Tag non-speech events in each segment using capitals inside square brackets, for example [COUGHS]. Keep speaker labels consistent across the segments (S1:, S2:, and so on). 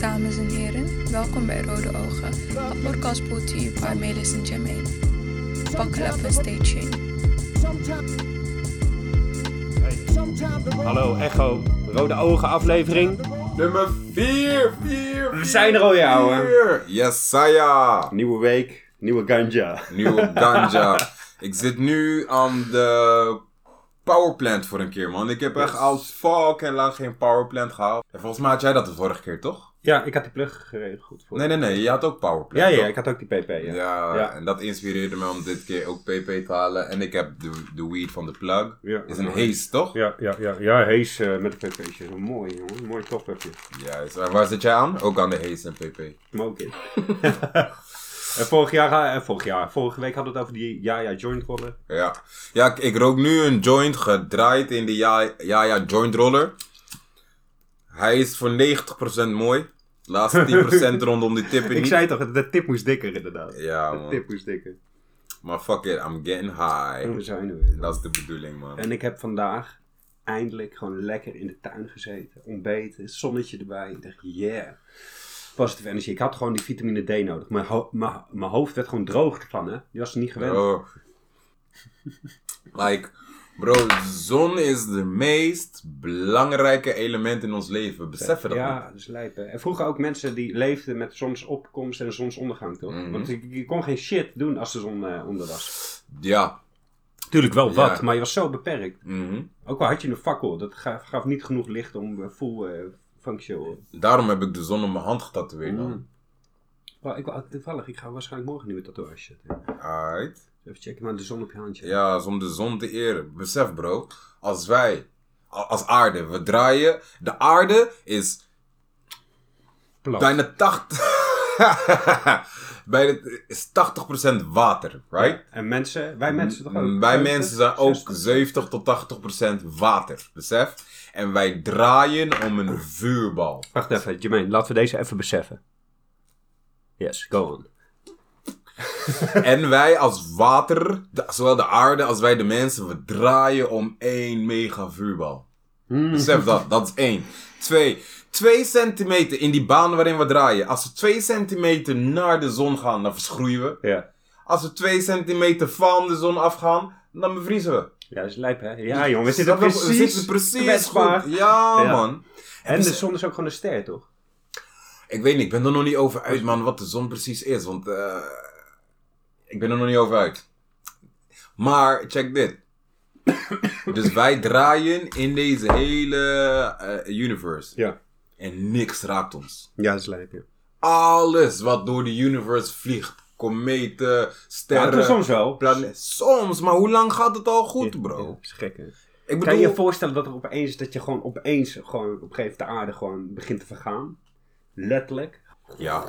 S1: dames en heren. Welkom bij Rode Ogen. A podcast brought to you by Melis and Jermaine. Buckle up and stay tuned.
S2: Hallo Echo, Rode Ogen aflevering.
S3: Nummer 4! 4!
S2: We zijn er alweer, ouwe.
S3: Yesaya!
S2: Nieuwe week, nieuwe ganja.
S3: Nieuwe ganja. ik zit nu aan de powerplant voor een keer, man. Ik heb echt als fuck en lang geen powerplant gehad. En volgens mij had jij dat de vorige keer, toch?
S2: Ja, ik had die plug geregeld goed voor.
S3: Nee, nee, nee. Je had ook
S2: Ja,
S3: powerplant,
S2: ja,
S3: toch?
S2: ik had ook die pp. Ja,
S3: Ja,
S2: Ja.
S3: en dat inspireerde me om dit keer ook PP te halen. En ik heb de, de weed van de plug.
S2: Ja.
S3: is een haze, toch?
S2: ja, ja, ja, ja Hees eh, met een pp'tje. Zo Mooi, jongen. Mooi toppetje.
S3: Juist. En waar zit jij aan? Ook aan de haze en PP.
S2: Smoke [LAUGHS] it. en vorig jaar, eh, vorig jaar, vorige week hadden we het over die ja, ja, joint rollen.
S3: Ja, ja ik, ik rook nu een joint gedraaid in de ja, ja, ja joint roller. Hij is voor 90% mooi. De
S2: [LAUGHS]
S3: laatste 10% rondom die tippen
S2: Ik
S3: niet.
S2: zei toch, de tip moest dikker, inderdaad.
S3: Ja,
S2: de tip
S3: man.
S2: moest dikker.
S3: Maar fuck it, I'm getting
S2: En we
S3: high.
S2: zijn er weer.
S3: Dat is de bedoeling, man.
S2: En ik heb vandaag eindelijk gewoon lekker in de tuin gezeten. Ontbeten, zonnetje erbij. Ik dacht, yeah. Positieve energie. Ik had gewoon die vitamine D nodig. Mijn, ho- mijn, mijn hoofd werd gewoon droog ervan, hè. Die was er niet gewend.
S3: Bro. Like, bro, zon is de meest belangrijke element in ons leven. Besef je dat
S2: ja,
S3: niet?
S2: dat is lijp. hè. En vroeger ook mensen die leefden met zonsopkomst en zonsondergang, toch?
S3: Mhm.
S2: Want je, je kon geen shit doen als de zon eh, onder was.
S3: Ja.
S2: Tuurlijk wel
S3: wat,
S2: wat, maar je was zo beperkt.
S3: mhm.
S2: Ook al had je een fakkel, dat gaf, gaf niet genoeg licht om eh, full eh functioneel.
S3: Daarom heb ik de zon op mijn hand getatoeëerd, man.
S2: Mm. Wel, ik, wou- toevallig, ik ga waarschijnlijk morgen een nieuwe tatoeage zetten.
S3: Alright.
S2: Even checken, maar de zon op je handje.
S3: Ja, is om de zon te eren. Besef bro, als wij, a- als aarde, we draaien. De aarde is
S2: Plat.
S3: bijna 80... [LAUGHS] bijna, is 80% water, right?
S2: En mensen, wij mensen toch ook?
S3: Wij
S2: 70,
S3: mensen zijn ook
S2: 60.
S3: 70 tot 80% water, besef? En wij draaien om een vuurbal.
S2: Wacht even, Jermaine, laten we deze even beseffen. Yes, go on.
S3: En wij als water, de- zowel de aarde als wij de mensen, we draaien om één mega vuurbal.
S2: Hmm.
S3: Besef dat, dat is één. Twee, twee centimeter in die baan waarin we draaien. Als we twee centimeter naar de zon gaan, dan verschroeien we.
S2: Ja.
S3: Als we twee centimeter van de zon afgaan, dan bevriezen we.
S2: Ja, Dus dat is lijp, hè? Ja, jongen, we zitten
S3: Snap je?
S2: precies,
S3: we zitten precies
S2: kwetsbaar.
S3: goed. Ja,
S2: Ja.
S3: man.
S2: En de zon is ook gewoon een ster, toch?
S3: Ik weet niet, ik ben er nog niet over uit, man, wat de zon precies is. Want eh, ik ben er nog niet over uit. Maar, check dit. [COUGHS] dus wij draaien in deze hele eh, universe.
S2: Ja.
S3: En niks raakt ons.
S2: Ja, dat is lijp, ja.
S3: Alles wat door de universe vliegt. Kometen, sterren.
S2: soms wel.
S3: plane- Soms, maar hoe lang gaat het al goed,
S2: Ja,
S3: bro?
S2: dat is gek, hè?
S3: Ik
S2: Kan
S3: bedoel,
S2: je je voorstellen dat er opeens, dat je gewoon opeens, gewoon op een gegeven moment de aarde gewoon begint te vergaan? Letterlijk.
S3: Ja.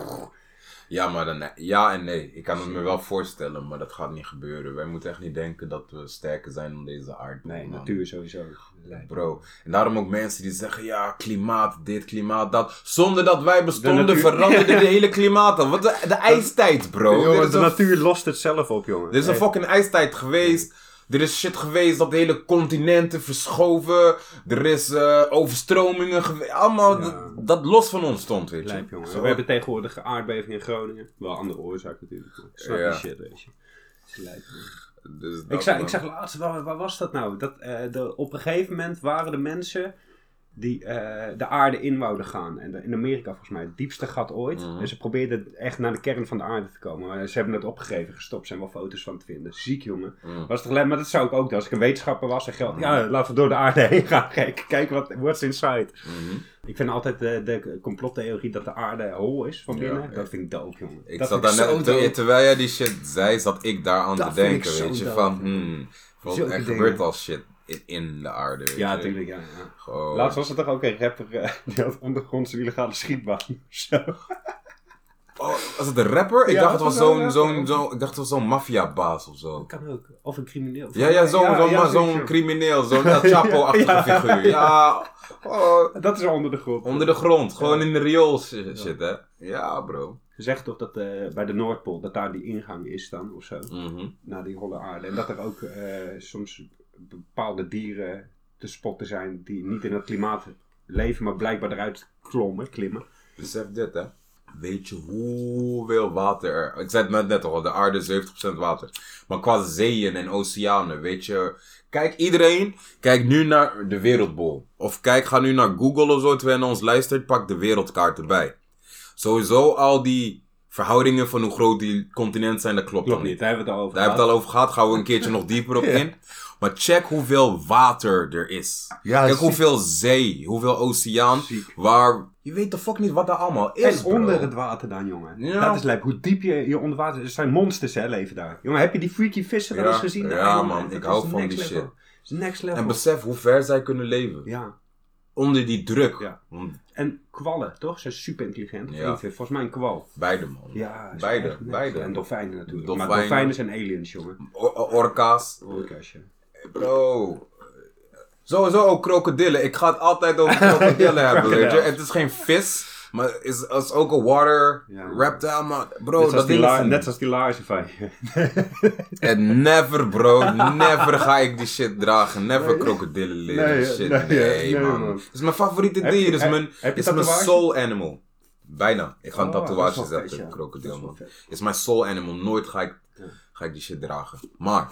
S3: Ja, maar dan, ja en nee. Ik kan het me wel voorstellen, maar dat gaat niet gebeuren. Wij moeten echt niet denken dat we sterker zijn dan deze aarde.
S2: Nee,
S3: man.
S2: natuur sowieso. Lijp.
S3: Bro. En daarom ook mensen die zeggen, ja, klimaat, dit, klimaat, dat. Zonder dat wij bestonden
S2: natuur.
S3: veranderde de
S2: [LAUGHS]
S3: hele klimaat al. Wat de, de ijstijd, bro. Dit is
S2: de
S3: een
S2: natuur lost het zelf op, jongen.
S3: Er is een fucking ijstijd geweest. Er is shit geweest dat de hele continenten verschoven. Er is eh, overstromingen geweest. Allemaal
S2: Ja.
S3: d- dat los van ons stond, weet je.
S2: Lijp, jongen.
S3: Zo.
S2: We hebben tegenwoordig een aardbeving in Groningen. Wel andere oorzaak natuurlijk. maar Snap je
S3: Ja.
S2: shit, weet je. Het is lijp, jongen.
S3: Dus dat,
S2: Ik zag,
S3: man.
S2: ik zag laatst, waar, waar was dat nou? Dat, eh, de, op een gegeven moment waren er mensen die eh, de aarde in wouden gaan. En de- in Amerika volgens mij, het diepste gat ooit.
S3: Mhm.
S2: En ze probeerden echt naar de kern van de aarde te komen. Maar ze hebben het opgegeven, gestopt. zijn wel foto's van te vinden. Ziek, jongen.
S3: Mm.
S2: Was toch, le- maar dat zou ik ook doen. Als ik een wetenschapper was en geld... Ja, laten we door de aarde heen gaan [LAUGHS] kijken. Kijken wat what's inside.
S3: Mhm.
S2: Ik vind altijd de, de complottheorie dat de aarde hol is van
S3: Ja,
S2: binnen.
S3: ja.
S2: dat vind ik dood, jongen.
S3: Ik
S2: dat
S3: zat
S2: vind
S3: daar
S2: ik zo
S3: net,
S2: dope.
S3: ter- terwijl jij die shit zei, zat ik daar aan
S2: Dat
S3: te
S2: vind ik
S3: denken,
S2: zo
S3: weet je.
S2: dood.
S3: Van, hmm, want
S2: Zulke
S3: er
S2: dingen.
S3: gebeurt al shit in, in de aarde, weet
S2: Ja,
S3: je.
S2: natuurlijk, ja. ja.
S3: Gewoon-
S2: Laatst was er toch ook een rapper eh, die had ondergronds een illegale schietbaan [LAUGHS] of zo.
S3: Oh, was het een rapper? Ik
S2: Ja,
S3: dacht het
S2: was
S3: was
S2: het wel
S3: zo'n,
S2: een rapper?
S3: zo'n, zo'n, ik dacht het was zo'n maffiabaas of zo.
S2: Kan ook. Of een crimineel.
S3: Ja, ja, zo'n zo'n man, zo'n
S2: zeker.
S3: crimineel, zo'n El Chapo-achtige
S2: [LAUGHS] Ja.
S3: figuur. Ja, oh,
S2: Dat is wel onder de grond.
S3: onder de grond, gewoon in de riool sh- shit, hè. Ja, bro.
S2: Ze zeggen toch dat eh, bij de Noordpool, dat daar die ingang is dan of zo,
S3: Mhm.
S2: naar die holle aarde. En dat er ook eh, soms bepaalde dieren te spotten zijn die niet in het klimaat leven, maar blijkbaar eruit klommen, klimmen.
S3: Besef dit, hè. Weet je hoeveel water er... Ik zei het net, net al, de aarde is 70% water. Maar qua zeeën en oceanen, weet je... Kijk, iedereen, kijk nu naar de wereldbol. Of kijk, ga nu naar Google of zo, terwijl je naar ons luistert, pak de wereldkaart erbij. Sowieso al die verhoudingen van hoe groot die continenten zijn, dat klopt
S2: Klopt
S3: dan
S2: niet, daar hebben we het al over
S3: daar hebben we
S2: gehad.
S3: het al over gehad. Gaan we een keertje nog dieper op in. Maar check hoeveel water er is.
S4: Ja,
S3: Kijk
S4: ziek.
S3: hoeveel zee, hoeveel oceaan.
S2: Ziek.
S3: Waar. Je weet de fuck niet wat daar allemaal is.
S2: En
S3: bro.
S2: onder het water dan, jongen.
S3: Ja.
S2: Dat is lijp. Hoe diep je, je onder water... Er zijn monsters, hè, leven daar. Jongen, heb je die freaky vissen wel
S3: Ja,
S2: eens gezien?
S3: ja,
S2: Daar, jongen,
S3: man,
S2: dat
S3: ik
S2: is
S3: hou
S2: de
S3: van
S2: next
S3: die
S2: level.
S3: shit.
S2: Dat is next level.
S3: En besef hoe ver zij kunnen leven.
S2: ja.
S3: Onder die druk.
S2: Ja.
S3: Want
S2: En kwallen, toch? Ze zijn super intelligent.
S3: Ja.
S2: Volgens mij een kwal.
S3: Beide, man.
S2: Ja, ze zijn
S3: beide.
S2: echt next
S3: beide.
S2: level. En dolfijnen natuurlijk. Maar
S3: Dolfijnen. Oh,
S2: dolfijnen zijn aliens, jongen.
S3: O- o- orka's.
S2: Broeikastje.
S3: Bro. Sowieso ook krokodillen. Ik ga het
S2: [LAUGHS]
S3: altijd over krokodillen hebben, weet je.
S2: Krokodil.
S3: Het is geen vis. Maar het is, is ook een water
S2: Ja.
S3: reptile. Maar bro,
S2: Net zoals
S3: dat
S2: die
S3: ding is
S2: la-
S3: een
S2: net zoals die laarzen van
S3: [LAUGHS]
S2: je.
S3: En never, bro. Never ga ik die shit dragen. Never krokodillen leren.
S2: Nee,
S3: shit.
S2: nee,
S3: Nee,
S2: nee,
S3: man.
S2: man.
S3: Het is mijn favoriete
S2: Heb je-
S3: dier. Het is
S2: heb-
S3: mijn,
S2: heb je
S3: is mijn
S2: tatoeage?
S3: soul animal. Bijna. Ik ga een
S2: Oh,
S3: tatoeage
S2: dat is wel vet,
S3: zetten.
S2: ja.
S3: Krokodil,
S2: Dat is wel
S3: man.
S2: vet.
S3: Het is mijn soul animal. Nooit ga ik, ga ik die shit dragen. Maar,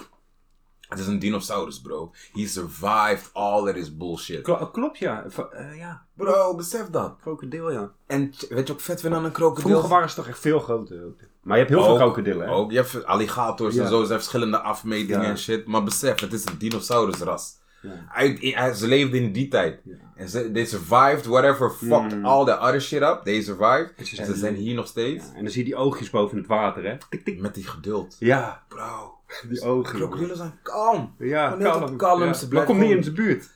S3: het is een dinosaurus, bro. He survived all of this bullshit.
S2: Kl- klopt, ja. Va- eh, ja,
S3: Bro, besef dat.
S2: krokodil, ja.
S3: En t- weet je ook vet vind aan een krokodil?
S2: Vroeger waren ze toch echt veel groter. ook. Maar je hebt heel veel
S3: Ook-
S2: krokodillen, hè?
S3: Ook, je hebt alligators
S2: Ja.
S3: en zo, ze hebben verschillende afmetingen
S2: Ja.
S3: en shit. Maar besef, het is een dinosaurusras. Uit, in- hij- ze leefden in die tijd. En ze, they survived whatever fucked
S2: Hmm.
S3: all that other shit up. They survived. En
S2: ze
S3: ze,
S2: zijn-
S3: zijn hier nog steeds.
S2: En dan zie je die oogjes boven het water, hè? Tik, tik.
S3: Met die geduld.
S2: Ja,
S3: Bro,
S2: die ogen. jongen.
S3: krokodillen zijn kalm.
S2: Ja,
S3: Maar net op kalm, ze
S2: Maar
S3: blijven
S2: kom niet
S3: gewoon-
S2: in zijn buurt.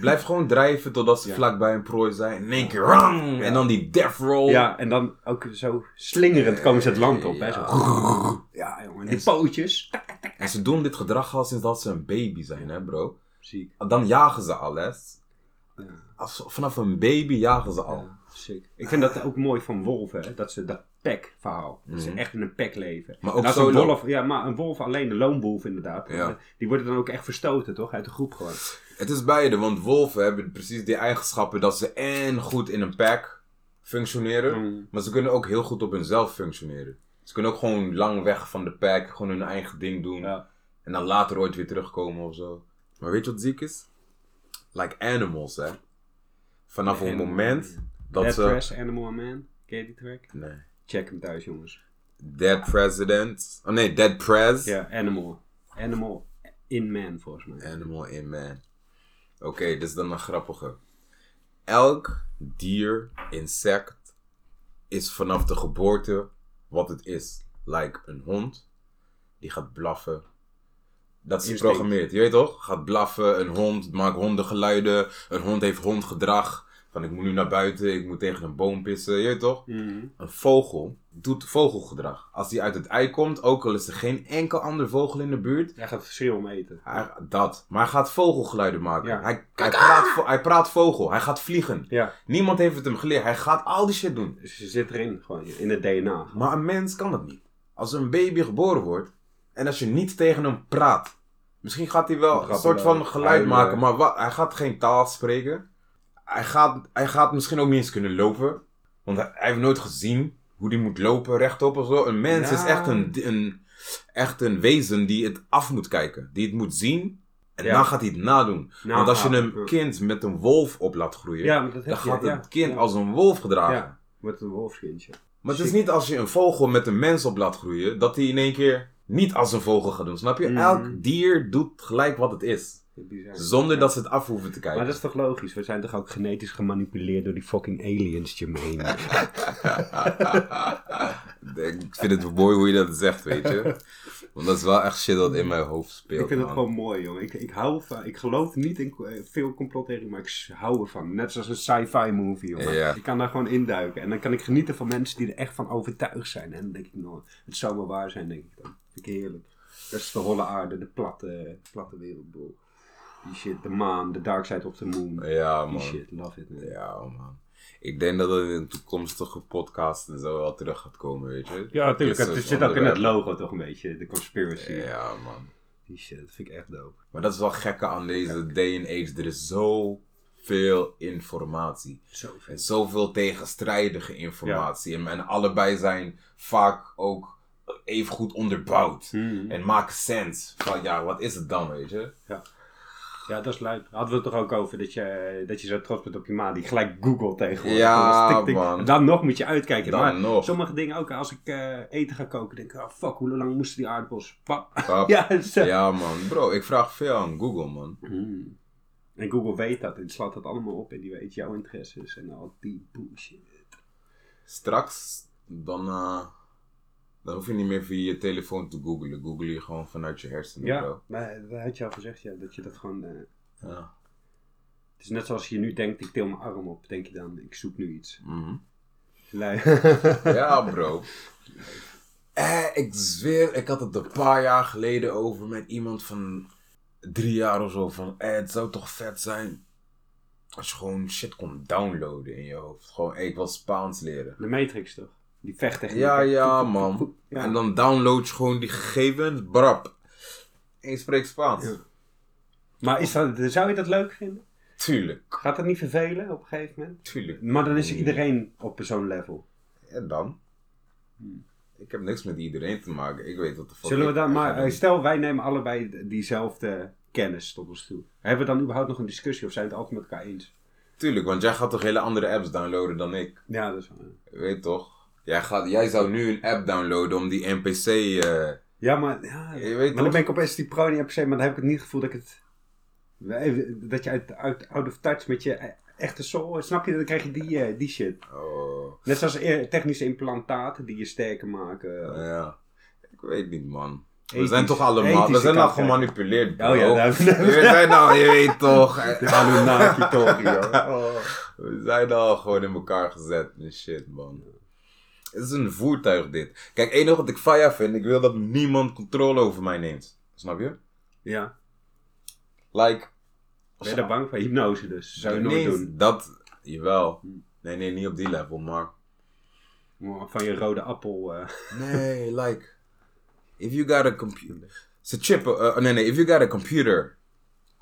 S3: Blijf gewoon drijven totdat ze vlakbij een prooi zijn. In één keer, rang! En dan die death roll.
S2: Ja, en dan ook zo slingerend komen ze het land op, hè? Zo. Ja, jongen. Die pootjes.
S3: En ze doen dit gedrag al sinds dat ze een baby zijn, hè bro.
S2: Ziek.
S3: dan jagen ze alles. Als, vanaf een baby jagen ze al.
S2: Sick. Ik vind dat ook mooi van wolven, hè? dat ze dat pack verhaal. Dat ze echt in een pack leven.
S3: Mhm. Maar ook
S2: En als een
S3: solo.
S2: wolf, ja, maar een wolf alleen, de loonwolf inderdaad. eh,
S3: Ja.
S2: Die worden dan ook echt verstoten, toch? Uit de groep gewoon.
S3: Het is beide, want wolven hebben precies die eigenschappen dat ze en goed in een pack functioneren,
S2: Mm.
S3: maar ze kunnen ook heel goed op hunzelf functioneren. Ze kunnen ook gewoon lang weg van de pack, gewoon hun eigen ding doen
S2: Ja.
S3: en dan later ooit weer terugkomen of zo. Maar weet je wat ziek is? Like animals, hè. Vanaf een
S2: Animal,
S3: moment dat eh,
S2: Dead
S3: ze.
S2: Press, eh, Animal Man. Ken je die track?
S3: Nee.
S2: Check hem thuis, jongens.
S3: Dead President. Oh nee, Dead Prez.
S2: Ja, Animal. Animal in Man, volgens mij.
S3: Animal in man. Oké, dit is dan een grappige. Elk dier, insect, is vanaf de geboorte wat het is. Like een hond, die gaat blaffen. Dat is
S2: Instinct.
S3: geprogrammeerd, je weet toch? Gaat blaffen, een hond maakt hondengeluiden. Een hond heeft hondgedrag. Van ik moet nu naar buiten, ik moet tegen een boom pissen, je weet toch?
S2: Mhm.
S3: Een vogel doet vogelgedrag. Als die uit het ei komt, ook al is er geen enkel ander vogel in de buurt,
S2: Hij gaat verschil om eten.
S3: hij, dat. Maar hij gaat vogelgeluiden maken.
S2: Ja.
S3: Hij, hij, praat, vo- hij praat vogel. Hij gaat vliegen.
S2: Ja.
S3: Niemand heeft het hem geleerd. Hij gaat al die shit doen.
S2: Dus ze zit erin, gewoon in het DNA.
S3: Maar een mens kan dat niet. Als een baby geboren wordt en als je niet tegen hem praat. Misschien gaat hij wel een
S2: Grappig,
S3: soort van
S2: eh,
S3: geluid
S2: huilen.
S3: maken, maar wat, hij gaat geen taal spreken. Hij gaat, hij gaat misschien ook niet eens kunnen lopen. Want hij, hij heeft nooit gezien hoe die moet lopen rechtop of zo. Een mens
S2: Ja.
S3: is echt een, een, echt een wezen die het af moet kijken. Die het moet zien en
S2: Ja.
S3: dan gaat hij het nadoen.
S2: Nou,
S3: Want als je
S2: ja,
S3: een
S2: ja.
S3: kind met een wolf op laat groeien,
S2: Ja, maar dat
S3: dan
S2: heb je,
S3: gaat
S2: ja.
S3: het kind
S2: Ja.
S3: als een wolf gedragen.
S2: Ja. Wordt een wolfskindje.
S3: Maar het is niet als je een vogel met een mens op laat groeien, dat hij in één keer niet als een vogel gaat doen. Snap je?
S2: Mhm.
S3: Elk dier doet gelijk wat het is.
S2: Bizar.
S3: Zonder dat ze het af hoeven te kijken.
S2: Maar dat is toch logisch? We zijn toch ook genetisch gemanipuleerd door die fucking aliens, [LAUGHS] Jermaine?
S3: [LAUGHS] Ik vind het mooi hoe je dat zegt, weet je. Want dat is wel echt shit dat in mijn hoofd speelt.
S2: Ik vind het
S3: man.
S2: gewoon mooi, jongen. Ik, ik hou van... Ik geloof niet in eh, veel complottheorie, maar ik s- hou ervan. Net zoals een sci-fi movie, jongen.
S3: Ja.
S2: Ik kan daar gewoon induiken. En dan kan ik genieten van mensen die er echt van overtuigd zijn. En dan denk ik, nou, het zou wel waar zijn, denk ik dan. Vind ik heerlijk. Dat is de holle aarde, de platte, platte wereld, bro. Die shit, de maan, de dark side of the moon.
S3: Ja,
S2: Die
S3: man.
S2: shit, love it, man.
S3: Ja, man. Ik denk dat het in toekomstige podcasts en zo wel terug gaat komen, weet je.
S2: Ja, natuurlijk.
S3: Dit
S2: Het
S3: soort
S2: zit ook in het
S3: onderwerpen.
S2: logo toch een beetje, de conspiracy.
S3: dus Ja, man.
S2: Die shit, dat vind ik echt dope.
S3: Maar dat is wel gekke aan deze day and age. Er is zo veel informatie.
S2: Zo
S3: En
S2: vet.
S3: zoveel tegenstrijdige informatie. En, en allebei zijn vaak ook even goed onderbouwd.
S2: Hmm.
S3: En maken sens. Van ja, wat is het dan, weet je?
S2: Ja, dat is leuk. Hadden we het toch ook over dat je, dat je zo trots bent op je ma die gelijk googelt tegenwoordig.
S3: Ja,
S2: Gewoon tik, tik.
S3: man.
S2: Dan nog moet je uitkijken.
S3: Dan
S2: maar
S3: nog.
S2: sommige dingen ook. Als ik eh, eten ga koken, denk ik, oh fuck, hoe lang moesten die aardappels? Pap. [LAUGHS]
S3: Pap.
S2: Ja, zo.
S3: Ja, man. Bro, ik vraag veel aan Google, man.
S2: Hmm. En Google weet dat en slaat dat allemaal op en die weet jouw interesses en al die bullshit.
S3: Straks, dan, eh, dan hoef je niet meer via je telefoon te googlen. Google je gewoon vanuit je hersenen,
S2: Ja,
S3: bro.
S2: maar dat had je al gezegd, ja, dat je dat gewoon... eh,
S3: Ja.
S2: het is net zoals je nu denkt, ik til mijn arm op, denk je dan, ik zoek nu iets.
S3: Mhm. [LAUGHS]
S2: Lui.
S3: Ja, bro. Eh, ik zweer, ik had het een paar jaar geleden over met iemand van drie jaar of zo. Van, eh, het zou toch vet zijn als je gewoon shit kon downloaden in je hoofd. Gewoon, eh, ik wil Spaans leren.
S2: De Matrix toch? Die vechttechniek.
S3: Ja, ja, man.
S2: Ja.
S3: En dan download je gewoon die gegevens, brap. En je spreekt Spaans.
S2: Ja. Maar is dat, zou je dat leuk vinden?
S3: Tuurlijk,
S2: Gaat dat niet vervelen op een gegeven moment?
S3: tuurlijk.
S2: Maar dan is iedereen op zo'n level.
S3: En dan? Ik heb niks met iedereen te maken. Ik weet wat de fuck
S2: Zullen we
S3: ik
S2: dan
S3: ga
S2: maar,
S3: doen.
S2: eh, stel wij nemen allebei d- diezelfde kennis tot ons toe. Hebben we dan überhaupt nog een discussie of zijn we het altijd met elkaar eens?
S3: Tuurlijk, want jij gaat toch hele andere apps downloaden dan ik.
S2: Ja, dat is wel.
S3: Weet toch? Jij, gaat, jij zou nu een app downloaden om die NPC. eh,
S2: Ja, maar, ja,
S3: Je weet
S2: maar
S3: toch?
S2: dan ben ik opeens die pro niet per se, maar dan heb ik het niet het gevoel dat ik het. Wij- Dat je uit, uit out of touch met je e- echte soul. Snap je? Dan krijg je die, eh, die shit.
S3: oh,
S2: Net zoals eer- technische implantaten die je sterker maken.
S3: nou ja. Ik weet niet, man. We
S2: Ethisch-
S3: zijn toch allemaal. We
S2: ethische
S3: zijn al
S2: kant, hè?
S3: gemanipuleerd,
S2: [LAUGHS]
S3: bro.
S2: Oh ja, daar-
S3: We zijn al, je weet toch. [LAUGHS]
S2: De [LAUGHS] Anunnaki toch, joh.
S3: We zijn al gewoon in elkaar gezet en shit, man. Het is een voertuig, dit. Kijk, het enige wat ik van jou vind, ik wil dat niemand controle over mij neemt. Snap je?
S2: Ja.
S3: Like,
S2: Ben je daar bang voor? Hypnose dus. Zou je nooit
S3: nee,
S2: doen.
S3: dat, jawel. Nee, nee, niet op die level, maar...
S2: Maar Van je rode appel. eh,
S3: Nee, like, if you got a computer, ze chippen, eh, nee, nee, if you got a computer,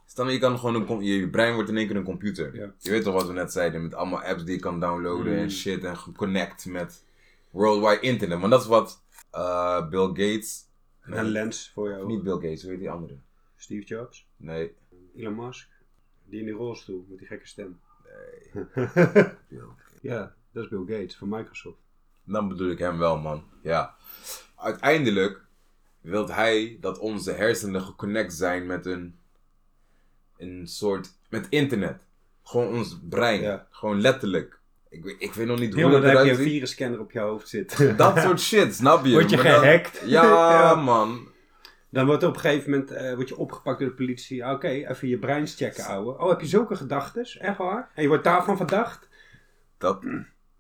S3: stel je kan gewoon een, com- je brein wordt in één keer een computer.
S2: Ja.
S3: Je weet toch wat we net zeiden, met allemaal apps die je kan downloaden
S2: Mm.
S3: en shit en connect met worldwide internet. Want dat is wat eh, Bill Gates,
S2: een lens voor jou.
S3: niet Bill Gates, hoe heet die andere?
S2: Steve Jobs.
S3: Nee,
S2: Elon Musk. Die in die rolstoel met die gekke stem.
S3: [LAUGHS] Bill
S2: Ja, dat is Bill Gates van Microsoft.
S3: Dan bedoel ik hem wel, man. Ja. Uiteindelijk wil hij dat onze hersenen geconnect zijn met een, een soort. met internet. Gewoon ons brein.
S2: Ja.
S3: Gewoon letterlijk. Ik, weet- ik weet nog niet
S2: Heel
S3: hoe
S2: dan
S3: dat
S2: heb je een
S3: eruit ziet.
S2: virusscanner op je hoofd zitten.
S3: Dat soort shit, snap
S2: [LAUGHS]
S3: je?
S2: Word je
S3: Maar dan-
S2: gehackt?
S3: ja,
S2: [LAUGHS] Ja.
S3: man.
S2: Dan wordt op een gegeven moment eh, word je opgepakt door de politie. Ah, Oké, even je breins checken, ouwe. Oh, heb je zulke gedachten? Echt waar? En je wordt daarvan verdacht.
S3: Dat,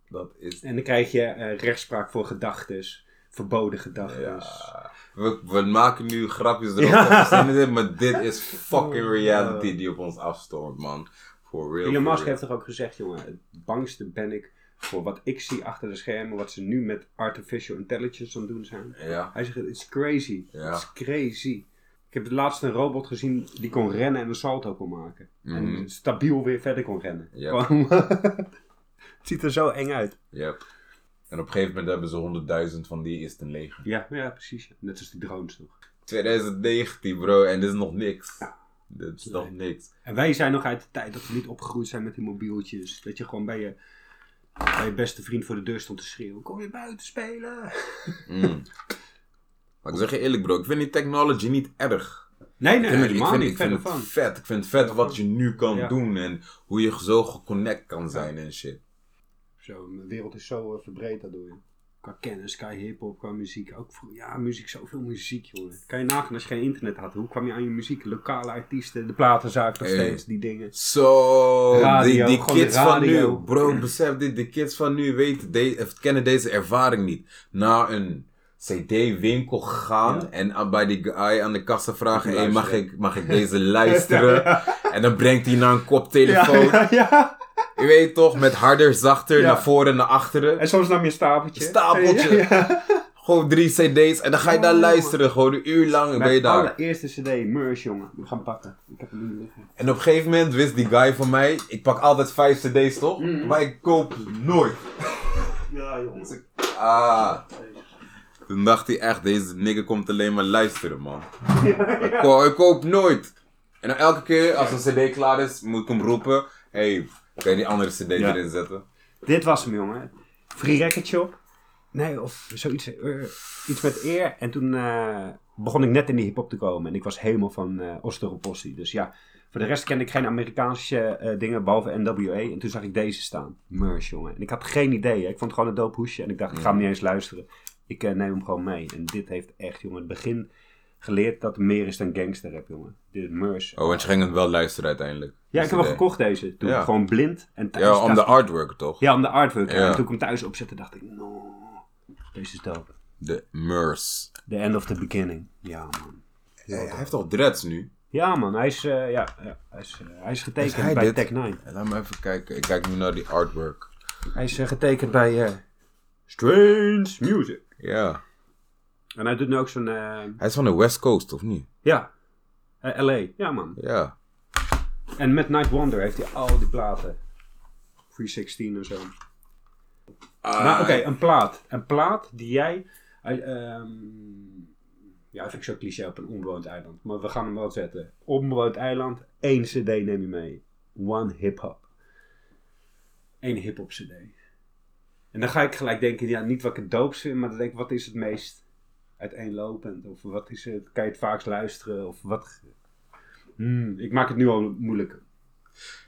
S3: dat is.
S2: En dan krijg je eh, rechtspraak voor gedachten. Verboden gedachten.
S3: Ja. We, we maken nu grapjes erop.
S2: Ja. Oh,
S3: dat we verzinnen dit, Maar dit
S2: [LAUGHS]
S3: is fucking reality die op ons afstormt, man. For real.
S2: Elon
S3: for
S2: Musk
S3: real.
S2: heeft toch ook gezegd, jongen, het bangste ben ik voor wat ik zie achter de schermen, wat ze nu met artificial intelligence aan het doen zijn.
S3: Ja.
S2: Hij zegt, it's crazy,
S3: Ja.
S2: it's crazy. Ik heb het laatst een robot gezien die kon rennen en een salto kon maken.
S3: Mhm.
S2: En stabiel weer verder kon rennen.
S3: Ja.
S2: [LAUGHS] Gewoon- het ziet er zo eng uit.
S3: Yep. En op een gegeven moment hebben ze honderdduizend van die is een leger.
S2: Ja, ja precies. ja. Net als die drones toch.
S3: 2019 bro, en dit is nog niks. Dit is nog niks.
S2: En wij zijn nog uit de tijd dat we niet opgegroeid zijn met die mobieltjes. Dat je gewoon bij je, bij je beste vriend voor de deur stond te schreeuwen. Kom je buiten spelen? [LAUGHS]
S3: Mm. Maar ik zeg je eerlijk bro, ik vind die technology niet erg.
S2: Nee, nee,
S3: Ik vind, het- ik
S2: helemaal
S3: vind,
S2: niet.
S3: ik vind
S2: Verder
S3: het
S2: van.
S3: vet. Ik vind het vet wat je nu kan
S2: Ja.
S3: doen en hoe je zo geconnect kan zijn en shit.
S2: Zo, mijn wereld is zo eh, verbreed daardoor. joh. Qua kennis, qua hip-hop, qua muziek. Ook voor, ja, muziek, zoveel muziek, jongen. Kan je nagaan als je geen internet had? Hoe kwam je aan je muziek? Lokale artiesten, de platenzaak nog
S3: Hey.
S2: steeds, die dingen.
S3: Zo, die,
S2: Radio,
S3: die
S2: gewoon de
S3: kids van
S2: radio.
S3: nu, bro, besef dit, de kids van nu weten, de- of kennen deze ervaring niet. Naar een CD-winkel gaan
S2: Ja.
S3: en aan- bij die guy aan de kassa vragen, hey, mag,
S2: Luisteren.
S3: ik, mag ik deze
S2: [LAUGHS]
S3: luisteren? En dan brengt hij naar een koptelefoon.
S2: ja, [LAUGHS] ja.
S3: Je weet toch, met harder, zachter, naar voren, naar achteren.
S2: En soms nam je een stapeltje.
S3: Een stapeltje.
S2: Ja, ja.
S3: Gewoon drie cd's en dan ga je daar
S2: Oh.
S3: luisteren. Gewoon een uur lang ben je
S2: Mijn
S3: daar.
S2: allereerste cd, Meurs, jongen. We gaan pakken. Ik heb hem nu liggen.
S3: En op een gegeven moment wist die guy van mij, ik pak altijd vijf cd's toch? Maar ik koop nooit.
S2: Mm.
S3: Dus
S2: Ja, jongen.
S3: Ah. Toen dacht hij echt, deze nigger komt alleen maar luisteren, man. Ik, ko- ik koop nooit. En dan elke keer als een cd klaar is, moet ik hem roepen. hey, kan je die andere cd
S2: Ja.
S3: erin zetten?
S2: Dit was hem, jongen. Free Record Shop. Nee, of zoiets. eh, iets met eer. En toen eh, begon ik net in die hip-hop te komen. En ik was helemaal van eh Osteropossie. Dus ja, voor de rest kende ik geen Amerikaanse eh, dingen behalve NWA. En toen zag ik deze staan. Murs, jongen. En ik had geen idee. Hè. Ik vond het gewoon een dope hoesje. En ik dacht, ik ga hem niet eens luisteren. Ik eh, neem hem gewoon mee. En dit heeft echt, jongen, het begin geleerd dat er meer is dan gangsterrap, jongen. Dit Murs.
S3: Oh, want je ging hem wel luisteren uiteindelijk.
S2: Ja, ik heb
S3: hem
S2: hem gekocht deze. Toen
S3: Ja.
S2: gewoon blind. En thuis
S3: Ja,
S2: dacht
S3: om de
S2: ik-
S3: artwork toch?
S2: ja, om de artwork.
S3: Ja.
S2: En toen ik hem thuis opzette, dacht ik, no, deze is dope.
S3: De Murs.
S2: The end of the beginning. Ja, man.
S3: Hey, hij heeft al dreads nu.
S2: Ja, man. Hij is, eh, ja, ja, hij is, eh, hij is getekend
S3: Is hij
S2: bij
S3: dit?
S2: Tech 9.
S3: Laat me even kijken. Ik kijk nu naar die artwork.
S2: Hij is eh, getekend bij eh, Strange Music.
S3: Ja.
S2: En hij doet nu ook zo'n, eh,
S3: Hij is van de West Coast, of niet?
S2: ja, eh, LA. Ja, man.
S3: Ja.
S2: En met Night Wonder heeft hij al die platen. 316 en zo.
S3: Eh,
S2: Maar Nou, oké, een plaat. Een plaat die jij. uit, ehm, ja, vind ik zo cliché op een onbewoond eiland. Maar we gaan hem wel zetten. Onbewoond eiland, één CD neem je mee. One hip-hop. Eén hip-hop CD. En dan ga ik gelijk denken, ja, niet wat ik het doopst vind, maar dan denk ik, wat is het meest uiteenlopend? Of wat is het, kan je het vaakst luisteren? Of wat. Hmm, ik maak het nu al moeilijk.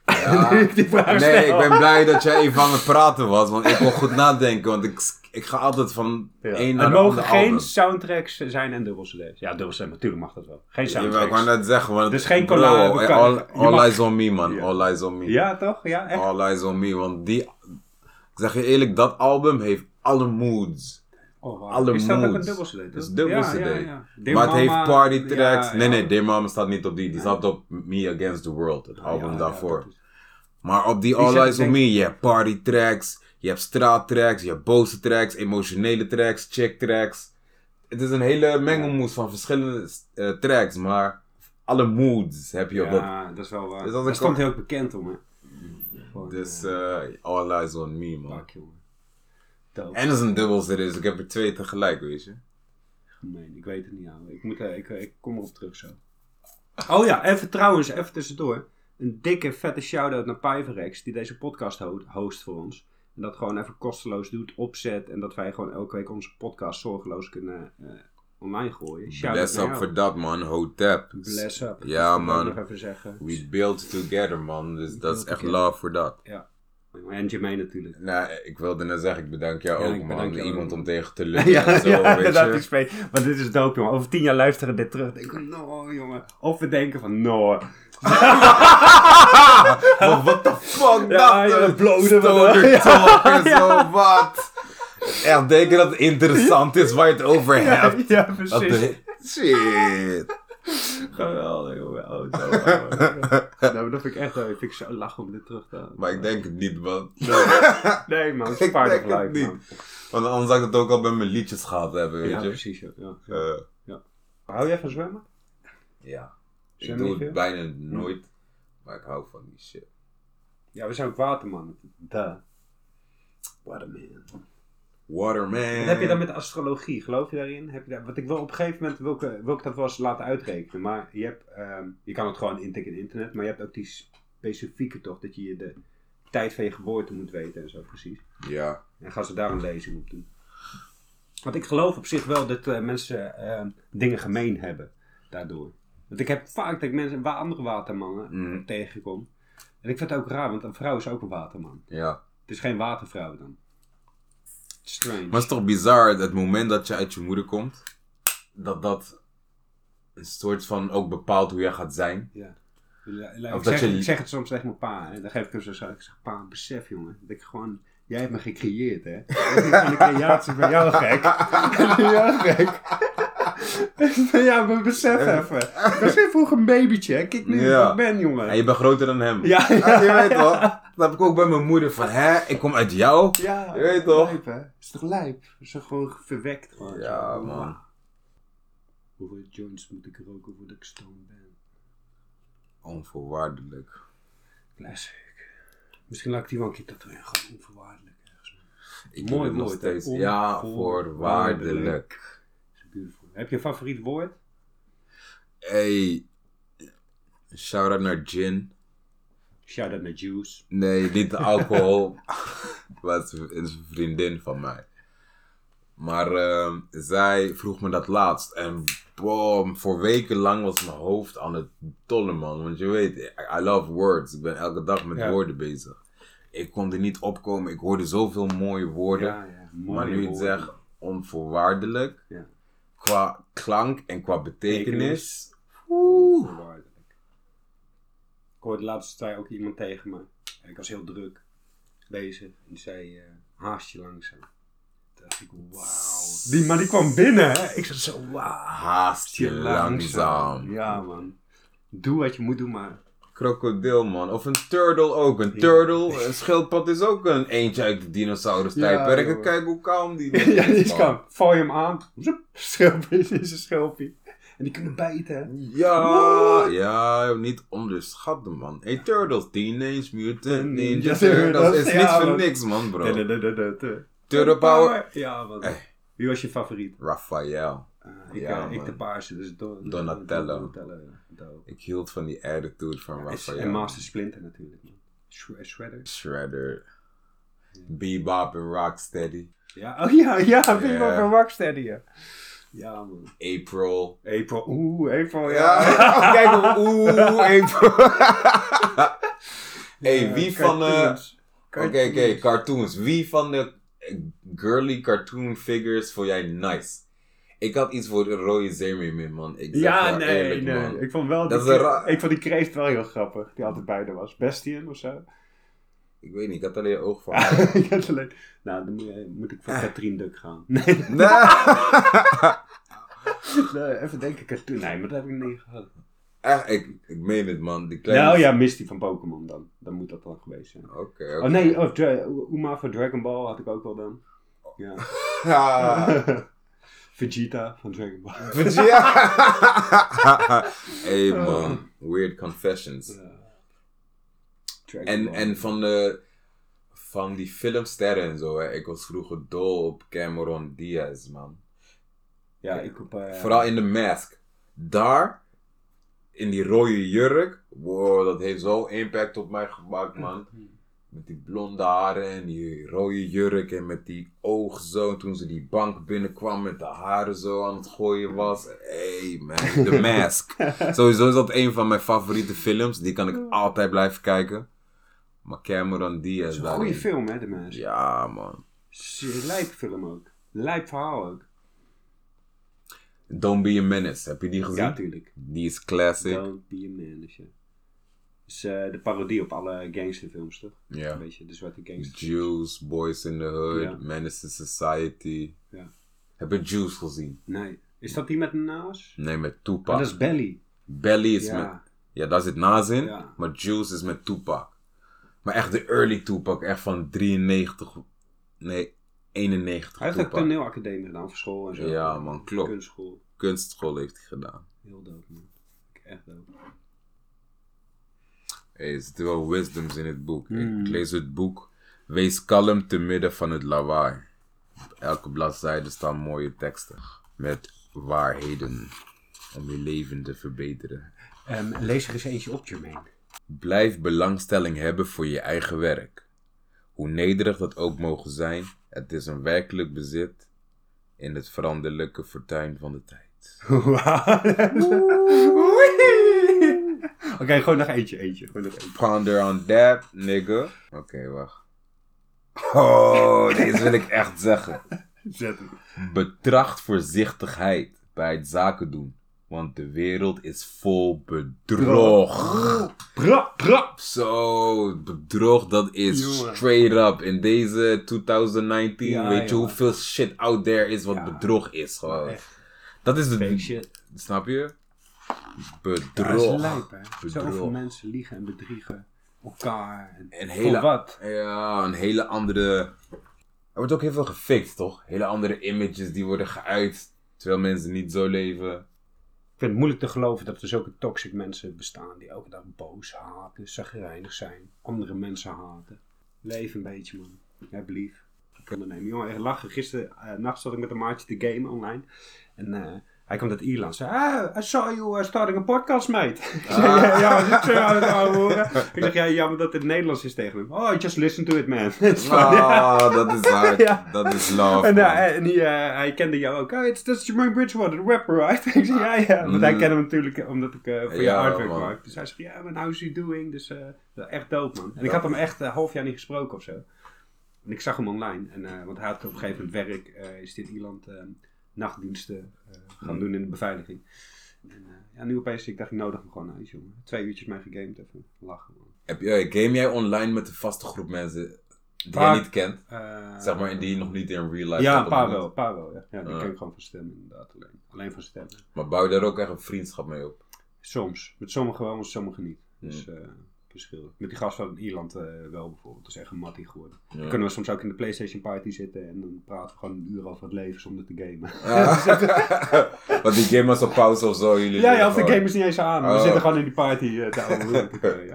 S3: Ja.
S2: [LAUGHS] Die vraag
S3: Nee, ik
S2: stel.
S3: ben blij dat jij even aan het praten was, want ik wil goed nadenken, want ik, ik ga altijd van
S2: Ja.
S3: één naar
S2: er
S3: de
S2: mogen
S3: andere
S2: geen
S3: album.
S2: soundtracks zijn en dubbel CD's. Ja, dubbel CD, natuurlijk mag dat wel. Geen
S3: Jawel, ik
S2: soundtracks.
S3: wou net zeggen, want
S2: Dus geen
S3: bro,
S2: collab, we
S3: eh,
S2: kan-
S3: all,
S2: je
S3: all
S2: mag-
S3: eyes on me man,
S2: Ja.
S3: all eyes on me.
S2: Ja, toch? Ja, echt?
S3: All eyes on me, want die, ik zeg je eerlijk, dat album heeft alle moods.
S2: Oh, wauw.
S3: alle
S2: Is dat ook een
S3: moods.
S2: dubbel CD? Dat
S3: Het is dubbel cd.
S2: Dear
S3: maar het
S2: Mama,
S3: heeft party tracks.
S2: ja,
S3: Nee,
S2: ja.
S3: nee, Dear Mama staat niet op die. Die staat op Me Against the World, het album
S2: Ja, ja,
S3: daarvoor.
S2: dat is-
S3: Maar op die
S2: Die
S3: All
S2: zet
S3: Eyes
S2: ik
S3: on
S2: denk-
S3: Me, je hebt party tracks, je hebt straattracks, je hebt boze tracks, emotionele tracks, chick tracks. Het is een hele mengelmoes van verschillende eh, tracks, maar alle moods heb je op dat.
S2: Ja, dat is wel waar.
S3: Dus dat
S2: dat
S3: ik-
S2: stond heel bekend om, hè? Gewoon,
S3: Dus eh, All Eyes on Me,
S2: eh,
S3: man.
S2: fuck, jongen. Dope.
S3: En dat is een dubbel series, ik heb er twee tegelijk, weet je.
S2: Gemeen, ik weet het niet aan. Ik, moet, eh, ik, ik kom erop terug zo. Oh ja, even trouwens, even tussendoor. Een dikke, vette shout-out naar Pyverex, die deze podcast ho- host voor ons. En dat gewoon even kosteloos doet, opzet. En dat wij gewoon elke week onze podcast zorgeloos kunnen eh, online gooien. Shout-out
S3: Bless
S2: naar
S3: up
S2: jou.
S3: voor dat, man. Hotep.
S2: Bless up. Dat
S3: Ja,
S2: wil ik
S3: man.
S2: Nog even zeggen.
S3: We build together, man. Dus dat is
S2: build
S3: echt
S2: together.
S3: love voor dat.
S2: En Jermaine
S3: [LAUGHS]
S2: natuurlijk.
S3: Nou, ik wilde net zeggen, ik bedank jou
S2: Ja,
S3: ook,
S2: ik
S3: man.
S2: bedank jou
S3: Iemand
S2: ook. [LAUGHS]
S3: om tegen te lukken en zo, weet je.
S2: spreek. Want dit is dope, jongen. Over tien jaar luisteren we dit terug. Denk ik, no, jongen. Of we denken van, no.
S3: [LAUGHS] Maar
S2: [LAUGHS]
S3: what the fuck
S2: Ja,
S3: dat?
S2: ja,
S3: eh,
S2: bloden we [LAUGHS]
S3: stoner
S2: wel.
S3: talk en zo, wat? Echt denken dat het interessant is waar je het
S2: [LAUGHS]
S3: over
S2: [LAUGHS]
S3: hebt.
S2: ja,
S3: Dat de- Shit.
S2: Geweldig,
S3: [LAUGHS]
S2: jongen. Oh, zo, man. nou, dat vind ik echt, dat vind ik zo lach om dit terug te halen.
S3: Maar ik denk het niet, man.
S2: Nee, man, het
S3: [LAUGHS] Ik
S2: is part
S3: denk
S2: of
S3: het
S2: life,
S3: niet.
S2: man.
S3: Want anders zou ik het ook al bij mijn liedjes gehad hebben, weet
S2: Ja,
S3: je.
S2: precies. Ja. Ja.
S3: Eh,
S2: Hou jij van zwemmen?
S3: ja. Ik
S2: Zwem
S3: doe
S2: je
S3: het
S2: veel?
S3: bijna nooit, maar ik hou van die shit.
S2: Ja, we zijn ook waterman. Duh. Waterman.
S3: Waterman.
S2: Wat heb je dan met astrologie? Geloof je daarin? Heb je daar, want ik wil op een gegeven moment, wil ik, eh, wil ik dat wel eens laten uitrekenen. Maar je hebt, ehm, je kan het gewoon intikken in internet. Maar je hebt ook die specifieke toch, dat je je de tijd van je geboorte moet weten en zo precies.
S3: Ja.
S2: En gaan ze daar een lezing op doen. Want ik geloof op zich wel dat eh, mensen eh, dingen gemeen hebben daardoor. Want ik heb vaak dat ik mensen, wa- andere watermannen
S3: Mhm.
S2: tegenkom. En ik vind het ook raar, want een vrouw is ook een waterman.
S3: Ja.
S2: Het is geen watervrouw dan. Strange.
S3: Maar het is toch bizar, het moment dat je uit je moeder komt, dat dat een soort van ook bepaalt hoe jij gaat zijn.
S2: Ja. La- la-
S3: Of
S2: Ik
S3: dat
S2: zeg,
S3: je-
S2: ik zeg het soms tegen mijn pa. En dan geef ik hem zo zo. Ik zeg, pa, besef jongen. Dat ik gewoon... Jij hebt me gecreëerd, hè? En ik van jou gek. [LAUGHS] ja, gek. ja, maar besef even. Besef hoe een babytje. hè. Kijk nu hoe
S3: Ja.
S2: ik ben, jongen.
S3: En je bent groter dan hem.
S2: Ja,
S3: Ah, je weet toch? Dat heb ik ook bij mijn moeder van, hè, ik kom uit jou.
S2: Ja,
S3: Je weet toch?
S2: Lijp, hè? Is toch lijp? Is toch gewoon verwekt? Gewoon.
S3: Ja, man.
S2: Hoeveel joints moet ik roken voordat ik stoned ben?
S3: Onvoorwaardelijk.
S2: Classic. Misschien laat ik die wel een keer tatoeëren. Gewoon onvoorwaardelijk. ergens.
S3: Ik
S2: Mooi
S3: doe het nog
S2: woord, hè?
S3: steeds. Ja, voorwaardelijk.
S2: Is beautiful. Heb je een favoriet woord?
S3: Hey, shout-out naar gin.
S2: Shout-out naar Juice.
S3: Nee, niet de alcohol. [LAUGHS] was een vriendin van mij. Maar ehm, zij vroeg me dat laatst. En boom, voor weken lang was mijn hoofd aan het tollen, man. Want je weet, I- I love words. Ik ben elke dag met
S2: Ja.
S3: woorden bezig. Ik kon er niet opkomen. Ik hoorde zoveel mooie woorden.
S2: ja.
S3: maar nu het zeg onvoorwaardelijk.
S2: Ja.
S3: Qua klank en qua betekenis.
S2: Betekenis.
S3: Oeh.
S2: Onvoorwaardelijk. Ik hoorde laatst zei ook iemand tegen me. En ik was heel druk bezig. En die zei, eh, haast je langzaam. Toen dacht ik, wauw. Die man die kwam binnen. Hè? Ik zei zo, wauw.
S3: Haast je langzaam.
S2: Ja, man. Doe wat je moet doen, maar...
S3: krokodil, man. Of een turtle ook. Een turtle, een schildpad is ook een eentje uit de dinosaurus tijdperk.
S2: Ja, joh.
S3: Kijk hoe
S2: [LAUGHS]
S3: kalm die
S2: [LAUGHS] ja, die is
S3: man.
S2: kan. Val je hem aan. Zoep, [LAUGHS] Schilpie, dit is een schilpie. En die kunnen bijten, hè.
S3: Ja, ja, niet onderschatten, man. Hey, Turtles, Teenage Mutant Ninja
S2: Ninja
S3: Turtles.
S2: Turtles,
S3: Is
S2: Mm, ja,
S3: niks voor
S2: man.
S3: niks, man, bro.
S2: Turtle
S3: Turtle Power.
S2: Ja, man.
S3: Eh.
S2: Wie was je favoriet?
S3: Raphaël.
S2: Ah, ik,
S3: Ja,
S2: eh, ik
S3: man.
S2: de paarse, dus Don-
S3: Donatello.
S2: Donatello, ja. Dope.
S3: Ik hield van die attitude van
S2: En,
S3: Raphaël.
S2: en Master Splinter natuurlijk, man. Shre- Shredder.
S3: Shredder. Bebop en Rocksteady.
S2: Ja, oh ja, ja, vind je wel
S3: Ja.
S2: van Rocksteady, ja. Ja, man.
S3: April.
S2: April, oeh, April, [LAUGHS]
S3: Ja, [LAUGHS]
S2: ja.
S3: kijk hoe- Oeh, April.
S2: [LAUGHS]
S3: hey, wie van... eh,
S2: cartoons.
S3: Oké, oké, cartoons. Wie van de eh, girly cartoon figures vond jij nice? Ik had iets voor de rode zeemeermin, man. Ik zeg
S2: Ja,
S3: jou
S2: nee,
S3: eerlijk,
S2: nee.
S3: man.
S2: Ik vond wel
S3: Dat
S2: die
S3: is
S2: kre-
S3: een ra-
S2: ik vond die kreeft wel heel grappig, die altijd bij er was. Bestian of zo.
S3: Ik weet niet, ik had alleen oog
S2: [LAUGHS]
S3: voor haar.
S2: ik had alleen... Nou, dan moet, je- moet ik
S3: Ah.
S2: voor Katrien Duk gaan. [LAUGHS] Nee,
S3: Nee. [LAUGHS]
S2: nee, even denken, Katrien. Nee, maar dat heb ik niet gehad.
S3: Echt, ik, ik meen het, man. Die kleine...
S2: Nou ja, Misty van Pokémon dan. Dan moet dat dan geweest zijn.
S3: dus- Oké, oké.
S2: Oh nee, of Dra- Uma van Dragon Ball had ik ook wel dan. Ja.
S3: [LAUGHS] Ja.
S2: Vegeta van Dragon Ball.
S3: Ja. [LAUGHS]
S2: [LAUGHS]
S3: hey, man. Weird confessions.
S2: Dragon
S3: En,
S2: Ball.
S3: en van de... Van die filmsterren en zo, hè. Ik was vroeger dol op Cameron Diaz, man.
S2: Ja, ik op... eh,
S3: Vooral in de mask. Daar, in die rode jurk. Wow, dat heeft zo'n impact op mij gemaakt, man. Met die blonde haren en die rode jurk en met die oog zo. Toen ze die bank binnenkwam met de haren zo aan het gooien was. Hey man,
S2: [LAUGHS]
S3: The Mask. Sowieso is dat een van mijn favoriete films. Die kan ik altijd blijven kijken. Maar Cameron Diaz
S2: is een goede
S3: daarin.
S2: film, hè, de mensen.
S3: Ja man.
S2: Lijp film ook. Lijp verhaal ook.
S3: Don't Be a Menace. Heb je die gezien?
S2: Ja, tuurlijk.
S3: die is classic.
S2: Don't be a manager. Dat is eh, de parodie op alle gangsterfilms, toch?
S3: Ja.
S2: Een beetje de zwarte gangster.
S3: Juice, Boys in the Hood,
S2: Ja.
S3: Menace to Society.
S2: Ja.
S3: Heb je Juice gezien?
S2: Nee. Is dat die met een naas?
S3: Nee, met Tupac.
S2: Ah, dat is Belly.
S3: Belly is met...
S2: Ja.
S3: Ja, daar zit Nas in.
S2: Ja.
S3: Maar Juice is met Tupac. Maar echt de early Tupac. Echt van 93... Nee, 91
S2: Hij heeft ook
S3: Tupac.
S2: toneelacademie gedaan voor school en zo.
S3: Ja, man, klopt.
S2: Kunstschool.
S3: Kunstschool heeft hij gedaan.
S2: Heel dope, man. Echt dope.
S3: Hey, er zitten wel wisdoms in het boek.
S2: Mm.
S3: Ik lees het boek. Wees kalm te midden van het lawaai. Op elke bladzijde staan mooie teksten. Met waarheden. Om je leven te verbeteren.
S2: Ehm, lees er eens eentje op, [LAUGHS] Jermaine.
S3: Blijf belangstelling hebben voor je eigen werk. Hoe nederig dat ook mogen zijn, het is een werkelijk bezit in het veranderlijke fortuin van de tijd.
S2: Oké, gewoon nog eentje, eentje. Gewoon nog eentje.
S3: Ponder on that, nigga. Oké, wacht. Oh, deze wil ik echt zeggen.
S2: Zet hem.
S3: Betracht voorzichtigheid bij het zaken doen, want de wereld is vol bedrog.
S2: Pra, pra.
S3: Zo, bedrog, dat is
S2: Jongen.
S3: straight up. In deze 2019,
S2: Ja,
S3: weet je
S2: jongen.
S3: hoeveel shit out there is wat
S2: Ja.
S3: bedrog is gewoon.
S2: Echt.
S3: Dat is de...
S2: Fake shit.
S3: Snap je?
S2: Ja, dat is
S3: Bedrog.
S2: lijp, hè. Zoveel
S3: Bedrog.
S2: mensen liegen en bedriegen elkaar. En,
S3: Een
S2: Voor
S3: hele,
S2: wat?
S3: Ja, een hele andere... Er wordt ook heel veel gefixt, toch? Hele andere images die worden geuit. Terwijl mensen niet zo
S2: [LAUGHS]
S3: leven.
S2: Ik vind het moeilijk te geloven dat er zulke toxic mensen bestaan die elke dag boos, haten, zagrijnig zijn, andere mensen haten. Leef een beetje, man. Heb lief. Ik kan er nemen. Jongen, echt lachen. Gisteren eh, nacht zat ik met een maatje te gamen online. En eh, hij kwam uit Ierland. Zei, ah, I saw you eh, starting a podcast, mate. [LAUGHS] Ik zei, ja, ja, wat is het zo aan het ouwe horen? Ik zeg, ja, jammer dat het Nederlands is tegen hem. Oh, just listen to it, man. [LAUGHS]
S3: Ah, dat is hard.
S2: Ja.
S3: Dat is love.
S2: En,
S3: man.
S2: eh, en die, eh, hij kende jou ook. Oh, it's just Jermaine Bridgewater, the rapper, right? [LAUGHS] ik zei, ja, ja. Want hij
S3: Mm.
S2: kende hem natuurlijk eh, omdat ik eh, voor je
S3: Ja,
S2: artwork
S3: man.
S2: maak. Dus hij zegt, ja, man, how's he doing? Dus eh, wel echt dope, man. En ik had hem echt een half jaar niet gesproken of zo. En ik zag hem online. En, eh, want hij had op een gegeven moment werk, eh, is dit Ierland eh, nachtdiensten eh, gaan
S3: Mm.
S2: doen in de beveiliging. En, eh, ja, nu opeens, ik dacht, ik nodig hem gewoon uit, jongen. Twee uurtjes mee gegamed, even lachen, man.
S3: Heb je, game jij online met een vaste groep mensen die
S2: Vaak.
S3: jij niet kent?
S2: Eh,
S3: Zeg maar, en die je nog niet in real life
S2: Ja, een
S3: hebt
S2: paar
S3: ontmoet?
S2: wel, een paar wel, ja. ja die
S3: Ah.
S2: ken ik gewoon van stemmen, inderdaad. Alleen, alleen van stemmen.
S3: Maar bouw je daar ook echt een vriendschap mee op?
S2: Soms. Met sommigen wel, met sommigen niet.
S3: Hmm.
S2: Dus eh, verschil. Met die gast van Ierland eh, wel bijvoorbeeld. Dat is echt een mattie geworden.
S3: Ja.
S2: Dan kunnen we soms ook in de PlayStation Party zitten en dan praten we gewoon een uur over het leven zonder te gamen.
S3: Ah. [LAUGHS] Want die game was op pauze of zo. Jullie
S2: ja, ja,
S3: doen
S2: of de
S3: gewoon-
S2: game is niet eens aan. We
S3: Oh.
S2: zitten gewoon in die party eh, te
S3: [LAUGHS]
S2: ouwehoeren. Eh, ja.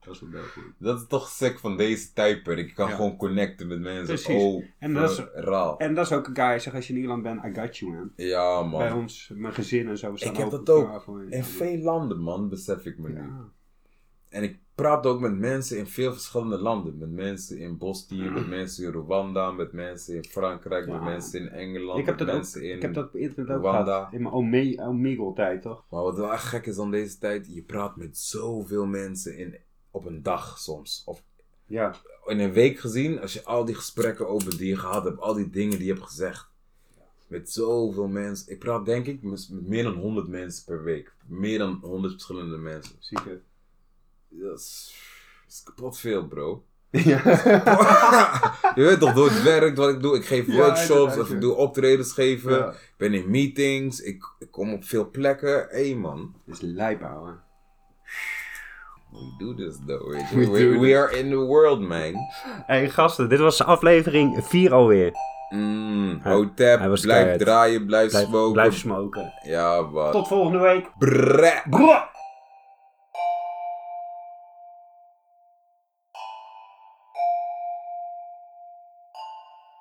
S2: Dat is wel leuk. hoor.
S3: Dat is toch sick van deze typer. Ik kan
S2: Ja.
S3: gewoon connecten met mensen.
S2: Precies.
S3: Oh,
S2: En dat is-
S3: raar.
S2: En dat is ook een guy, zeg als je in Ierland bent, I got you man.
S3: Ja,
S2: Bij
S3: man.
S2: ons, mijn gezin en zo. We staan
S3: Ik heb
S2: open
S3: dat ook.
S2: klaar voor je.
S3: In veel landen, man, besef ik me nu.
S2: Ja.
S3: En ik praat ook met mensen in veel verschillende landen. Met mensen in Bosnië, met mensen in Rwanda, met mensen in Frankrijk,
S2: Ja.
S3: met mensen in Engeland,
S2: Ik heb
S3: met
S2: dat ook.
S3: mensen in...
S2: Ik heb dat op internet ook
S3: Rwanda.
S2: gehad. In mijn Ome- Omegle tijd toch?
S3: Maar wat wel echt gek is aan deze tijd, je praat met zoveel mensen in, op een dag soms. Of
S2: Ja.
S3: in een week gezien, als je al die gesprekken over die je gehad hebt, al die dingen die je hebt gezegd. Met zoveel mensen. Ik praat denk ik mis- met meer dan 100 mensen per week. Meer dan 100 verschillende mensen.
S2: Zieke.
S3: Dat is, dat is kapot veel, bro.
S2: [LAUGHS]
S3: [LAUGHS]
S2: Ja.
S3: je weet toch, door het werk wat ik doe. Ik geef
S2: Ja,
S3: workshops,
S2: inderdaad,
S3: of
S2: ja.
S3: ik doe optredens geven.
S2: Ja.
S3: Ik ben in meetings, ik, ik kom op veel plekken. Hé hey, man,
S2: Dat is lijp, ouwe.
S3: we do this though. weet je.
S2: [LAUGHS] We
S3: We,
S2: do
S3: we
S2: this.
S3: are in the world, man.
S2: Hey gasten, dit was aflevering 4 alweer.
S3: Mm,
S2: Hij-
S3: hotep,
S2: hij was
S3: blijf
S2: keihard.
S3: draaien, blijf,
S2: Blijf,
S3: smoken.
S2: blijf smoken.
S3: ja, wat.
S2: Tot volgende week.
S3: Brrr.
S2: Brrr.